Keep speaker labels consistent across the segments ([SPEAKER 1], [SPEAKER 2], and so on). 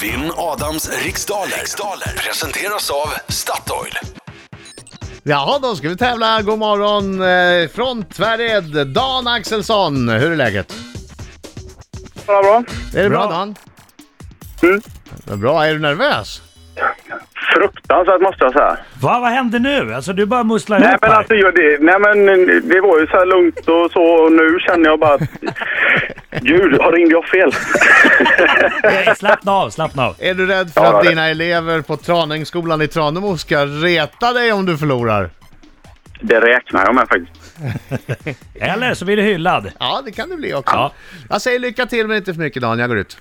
[SPEAKER 1] Vinn Adams riksdaler. riksdaler presenteras av Statoil.
[SPEAKER 2] Jaha, då ska vi tävla. God morgon eh, från Tväred, Dan Axelsson. Hur är läget?
[SPEAKER 3] Bra, bra.
[SPEAKER 2] Är det bra, Dan?
[SPEAKER 3] Mm.
[SPEAKER 2] Vad Bra. Är du nervös?
[SPEAKER 3] Fruktansvärt måste jag säga.
[SPEAKER 4] Va, vad hände nu? Alltså du bara musslar
[SPEAKER 3] Nej
[SPEAKER 4] ihop
[SPEAKER 3] men
[SPEAKER 4] här.
[SPEAKER 3] alltså, jag, det, nej, men det var ju så här lugnt och så och nu känner jag bara att... Gud, har ringde jag fel?
[SPEAKER 4] Nej, Slappna av, slappna av.
[SPEAKER 2] Är du rädd för
[SPEAKER 3] Ja,
[SPEAKER 2] att
[SPEAKER 3] det-
[SPEAKER 2] dina elever på Traningsskolan i Tranemo ska reta dig om du förlorar?
[SPEAKER 3] det räknar jag med faktiskt.
[SPEAKER 4] Eller så blir du hyllad.
[SPEAKER 2] Ja, det kan det bli också.
[SPEAKER 4] Ja.
[SPEAKER 2] Jag säger lycka till men inte för mycket Dan, jag går ut.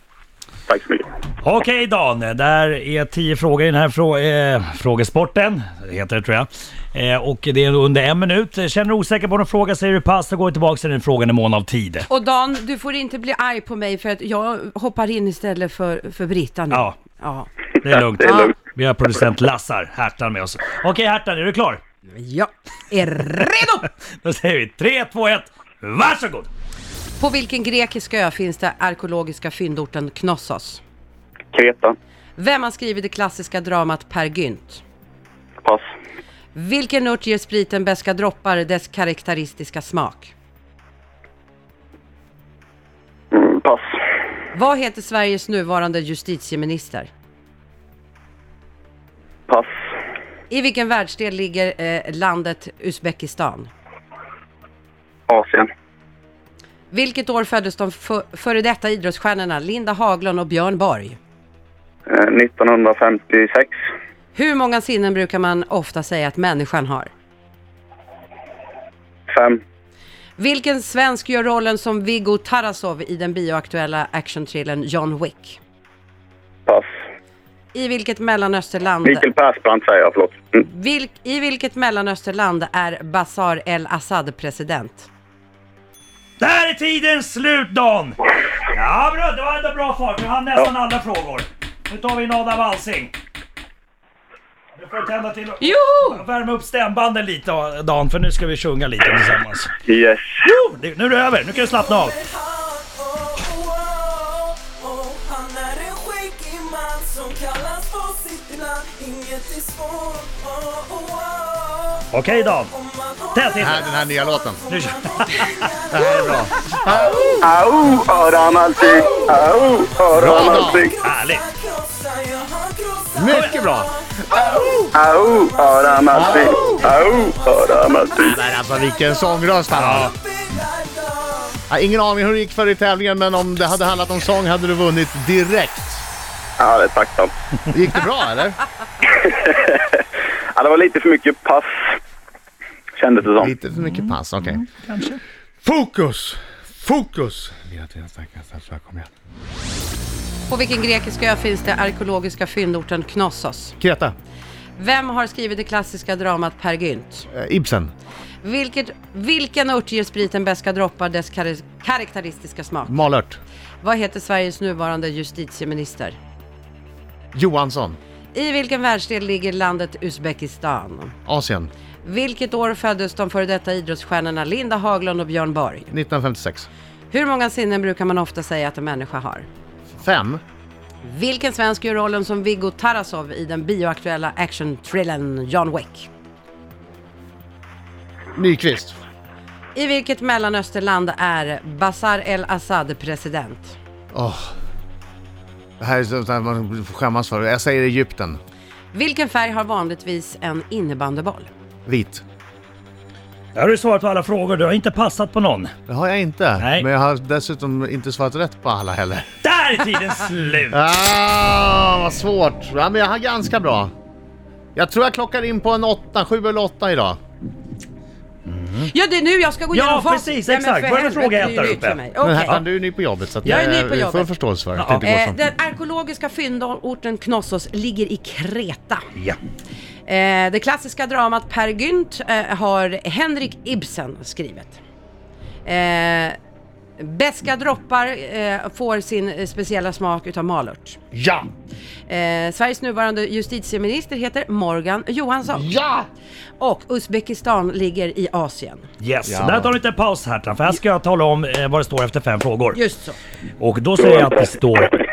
[SPEAKER 3] Tack så mycket.
[SPEAKER 4] Okej Dan, där är tio frågor i den här frå eh, frågesporten. Det heter det tror jag. Eh, och det är under en minut. Känner du osäker på någon fråga säger du pass och går tillbaka till den frågan i mån av tid.
[SPEAKER 5] Och Dan, du får inte bli arg på mig för att jag hoppar in istället för, för Britta nu.
[SPEAKER 4] Ja.
[SPEAKER 5] Ja.
[SPEAKER 4] Det är lugnt.
[SPEAKER 3] Det är lugnt.
[SPEAKER 4] Vi har producent Lassar, Hertan med oss. Okej Hertan, är du klar?
[SPEAKER 5] Ja. Är redo!
[SPEAKER 4] Då säger vi 3, 2, 1, varsågod!
[SPEAKER 5] På vilken grekisk ö finns det arkeologiska fyndorten Knossos?
[SPEAKER 3] Kreta.
[SPEAKER 5] Vem har skrivit det klassiska dramat Per Gynt?
[SPEAKER 3] Pass.
[SPEAKER 5] Vilken ört ger spriten beska droppar dess karaktäristiska smak?
[SPEAKER 3] Mm, pass.
[SPEAKER 5] Vad heter Sveriges nuvarande justitieminister?
[SPEAKER 3] Pass.
[SPEAKER 5] I vilken världsdel ligger eh, landet Uzbekistan?
[SPEAKER 3] Asien.
[SPEAKER 5] Vilket år föddes de fö- före detta idrottsstjärnorna Linda Haglund och Björn Borg?
[SPEAKER 3] Eh, 1956.
[SPEAKER 5] Hur många sinnen brukar man ofta säga att människan har?
[SPEAKER 3] Fem.
[SPEAKER 5] Vilken svensk gör rollen som Viggo Tarasov i den bioaktuella actionthrillern John Wick?
[SPEAKER 3] Pass.
[SPEAKER 5] I vilket mellanösterland,
[SPEAKER 3] Mikael Persbrandt säger jag, förlåt. Mm.
[SPEAKER 5] vilk, i vilket mellanösterland är Bashar el-Assad president?
[SPEAKER 4] Där är tiden slut Dan! Ja bra, det var ändå bra fart. Du hann nästan alla frågor. Nu tar vi in Adam Alsing. Du får tända till och
[SPEAKER 5] Joho!
[SPEAKER 4] värma upp stämbanden lite Dan, för nu ska vi sjunga lite tillsammans.
[SPEAKER 3] Yes.
[SPEAKER 4] Jo, det- nu är det över. Nu kan du slappna av.
[SPEAKER 6] Han är en skäggig man som kallas på sitt namn Inget är svårt oh, oh, oh.
[SPEAKER 4] Okej Dan.
[SPEAKER 6] Om man
[SPEAKER 4] Där sitter
[SPEAKER 2] Den här, den här nya låten.
[SPEAKER 4] Nu kör vi.
[SPEAKER 2] Det här är bra.
[SPEAKER 3] Au, Adam Alsing. Au, Adam
[SPEAKER 2] Bra,
[SPEAKER 3] Alsing.
[SPEAKER 4] Härligt.
[SPEAKER 6] krossar jag, han krossar
[SPEAKER 2] Mycket bra!
[SPEAKER 3] Au, Adam Alsing. Au, Adam Alsing.
[SPEAKER 2] Men alltså vilken sångröst han har.
[SPEAKER 6] Bildar jag.
[SPEAKER 2] Jag har ingen aning hur det gick för i tävlingen men om det hade handlat om sång hade du vunnit direkt.
[SPEAKER 3] Ja, det är tacksamt.
[SPEAKER 2] Gick det bra eller?
[SPEAKER 3] Ja, det var lite för mycket pass, kändes det som.
[SPEAKER 2] Lite för mycket pass, okej. kanske. Fokus! Fokus!
[SPEAKER 5] På vilken grekisk ö finns det arkeologiska fyndorten Knossos?
[SPEAKER 2] Kreta.
[SPEAKER 5] Vem har skrivit det klassiska dramat Per Gynt?
[SPEAKER 2] Eh, Ibsen.
[SPEAKER 5] Vilket, vilken ört ger spriten beska droppar dess kar- karaktäristiska smak?
[SPEAKER 2] Malört.
[SPEAKER 5] Vad heter Sveriges nuvarande justitieminister?
[SPEAKER 2] Johansson.
[SPEAKER 5] I vilken världsdel ligger landet Uzbekistan?
[SPEAKER 2] Asien.
[SPEAKER 5] Vilket år föddes de före detta idrottsstjärnorna Linda Haglund och Björn Borg?
[SPEAKER 2] 1956.
[SPEAKER 5] Hur många sinnen brukar man ofta säga att en människa har?
[SPEAKER 2] Fem.
[SPEAKER 5] Vilken svensk gör rollen som Viggo Tarasov i den bioaktuella actionthrillern John Wick?
[SPEAKER 2] Nyqvist.
[SPEAKER 5] I vilket mellanösterland är Bashar el-Assad president?
[SPEAKER 2] Åh. Det här är sånt här man får skämmas för. Jag säger Egypten.
[SPEAKER 5] Vilken färg har vanligtvis en innebandyboll?
[SPEAKER 2] Vit.
[SPEAKER 4] Där har du svarat på alla frågor. Du har inte passat på någon.
[SPEAKER 2] Det har jag inte.
[SPEAKER 4] Nej.
[SPEAKER 2] Men jag har dessutom inte svarat rätt på alla heller.
[SPEAKER 4] Där är tiden slut.
[SPEAKER 2] Ah, vad svårt. Ja, men jag har ganska bra. Jag tror jag klockar in på en åtta, sju eller åtta idag.
[SPEAKER 5] Ja, det är nu jag ska gå
[SPEAKER 4] Ja,
[SPEAKER 5] igenom facit.
[SPEAKER 4] precis,
[SPEAKER 5] Nej, men
[SPEAKER 4] exakt.
[SPEAKER 5] för
[SPEAKER 4] Vad är det för
[SPEAKER 5] helvete,
[SPEAKER 4] fråga
[SPEAKER 5] det är ju
[SPEAKER 4] jag tar
[SPEAKER 5] nytt
[SPEAKER 4] uppe?
[SPEAKER 5] för mig.
[SPEAKER 2] Men
[SPEAKER 5] Okej.
[SPEAKER 2] Hertan, du är ny på jobbet så att
[SPEAKER 5] Jag är ny på
[SPEAKER 2] vi får
[SPEAKER 5] jobbet.
[SPEAKER 2] förståelse för att det
[SPEAKER 4] Ja.
[SPEAKER 2] inte går
[SPEAKER 5] Eh,
[SPEAKER 2] som...
[SPEAKER 5] den arkeologiska fyndorten Knossos ligger i Kreta.
[SPEAKER 4] Ja.
[SPEAKER 5] Eh, det klassiska dramat Per Gynt eh, har Henrik Ibsen skrivet. Eh, Beska droppar eh, får sin eh, speciella smak utav malört.
[SPEAKER 2] Ja!
[SPEAKER 5] Eh, Sveriges nuvarande justitieminister heter Morgan Johansson.
[SPEAKER 2] Ja!
[SPEAKER 5] Och Uzbekistan ligger i Asien.
[SPEAKER 4] Yes,
[SPEAKER 2] Ja.
[SPEAKER 4] där tar du inte en paus här för här ska jag tala om eh, vad det står efter fem frågor.
[SPEAKER 5] Just så.
[SPEAKER 4] Och då säger jag att det står...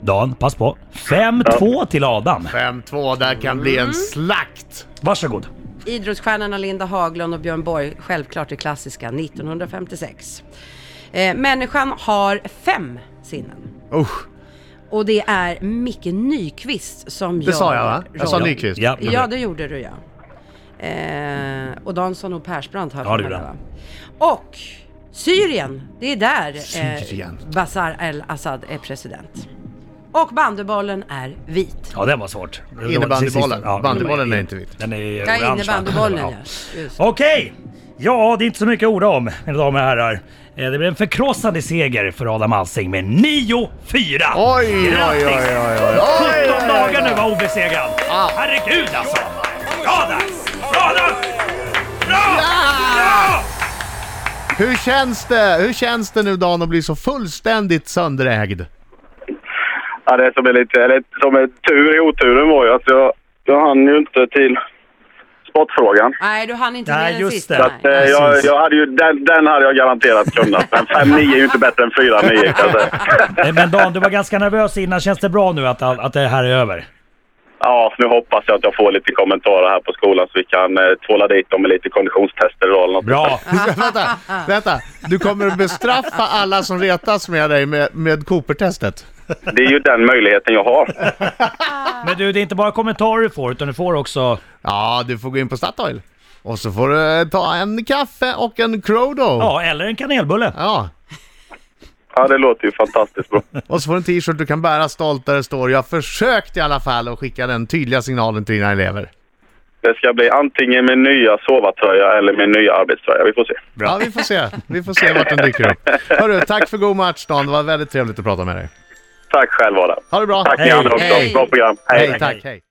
[SPEAKER 4] Dan, pass på. 5-2 till Adam.
[SPEAKER 2] 5-2, där kan bli
[SPEAKER 5] Mm.
[SPEAKER 2] en slakt.
[SPEAKER 4] Varsågod.
[SPEAKER 5] Idrottsstjärnorna Linda Haglund och Björn Borg, självklart det klassiska 1956. Eh, människan har fem sinnen.
[SPEAKER 2] Usch,
[SPEAKER 5] Och det är Micke Nyqvist som
[SPEAKER 2] det sa jag va? Jag sa
[SPEAKER 5] rollen.
[SPEAKER 2] Nyqvist.
[SPEAKER 4] Ja,
[SPEAKER 5] Ja, det gjorde du ja. Eh, och Dansson och Persbrandt har
[SPEAKER 4] Ja, det
[SPEAKER 5] för mig,
[SPEAKER 4] gjorde
[SPEAKER 5] va? Och Syrien, det är där
[SPEAKER 2] Syrien.
[SPEAKER 5] Eh, Bashar al-Assad är president. Och bandybollen är vit.
[SPEAKER 4] Ja, den var svårt. Det var det
[SPEAKER 2] Innebandybollen.
[SPEAKER 4] sista. Ja,
[SPEAKER 2] Bandybollen är inte vit.
[SPEAKER 4] Den är
[SPEAKER 5] Ja,
[SPEAKER 4] orange, va?
[SPEAKER 5] innebandybollen
[SPEAKER 4] Ja.
[SPEAKER 5] ja. Just.
[SPEAKER 4] Okej! Ja, det är inte så mycket att orda om, mina damer och herrar. Eh, Det blev en förkrossande seger för Adam Alsing med 9-4!
[SPEAKER 2] Oj, oj, oj, Ah. oj, oj, oj.
[SPEAKER 4] 17 dagar nu var obesegrad! Herregud alltså! Bra Dags! Bra Dags! Bra! Ja!
[SPEAKER 2] Hur känns det? Hur känns det nu Dan att bli så fullständigt sönderägd?
[SPEAKER 3] Ja, det är som är lite, eller som är tur i oturen var ju att jag, jag hann ju inte till sportfrågan.
[SPEAKER 5] Nej, du hann inte
[SPEAKER 4] Nej,
[SPEAKER 5] med den
[SPEAKER 4] just
[SPEAKER 5] sista.
[SPEAKER 4] det.
[SPEAKER 3] Så
[SPEAKER 5] nej.
[SPEAKER 3] att, eh, jag, jag hade ju, den, den hade jag garanterat kunnat. Men 5-9 är ju inte bättre än 4-9 kan jag säga.
[SPEAKER 4] Eh, Men Dan, du var ganska nervös innan. Känns det bra nu att, all- att det här är över?
[SPEAKER 3] Ja, nu hoppas jag att jag får lite kommentarer här på skolan så vi kan eh, tvåla dit dem med lite konditionstester idag eller något.
[SPEAKER 4] Bra!
[SPEAKER 2] vänta, vänta. Du kommer att bestraffa alla som retas med dig med, med Cooper-testet.
[SPEAKER 3] Det är ju den möjligheten jag har.
[SPEAKER 4] Men du, det är inte bara kommentarer du får, utan du får också...
[SPEAKER 2] Ja, du får gå in på Statoil. Och så får du ta en kaffe och en Crodo.
[SPEAKER 4] Ja, eller en kanelbulle.
[SPEAKER 2] Ja,
[SPEAKER 3] Ja, det låter ju fantastiskt bra.
[SPEAKER 2] och så får du en t-shirt du kan bära stolt där det står “Jag försökte i alla fall” och skicka den tydliga signalen till dina elever.
[SPEAKER 3] Det ska bli antingen min nya sovartröja eller min nya arbetströja. Vi får se.
[SPEAKER 2] Ja, vi får se. Vi får se vart den dyker upp. Hörru, tack för god match Dan. Det var väldigt trevligt att prata med dig.
[SPEAKER 3] Tack själv, Adam.
[SPEAKER 2] Ha det bra.
[SPEAKER 3] Tack
[SPEAKER 4] Hej.
[SPEAKER 3] ni andra också.
[SPEAKER 5] Hej.
[SPEAKER 3] Bra program.
[SPEAKER 2] Hej, tack. Hej.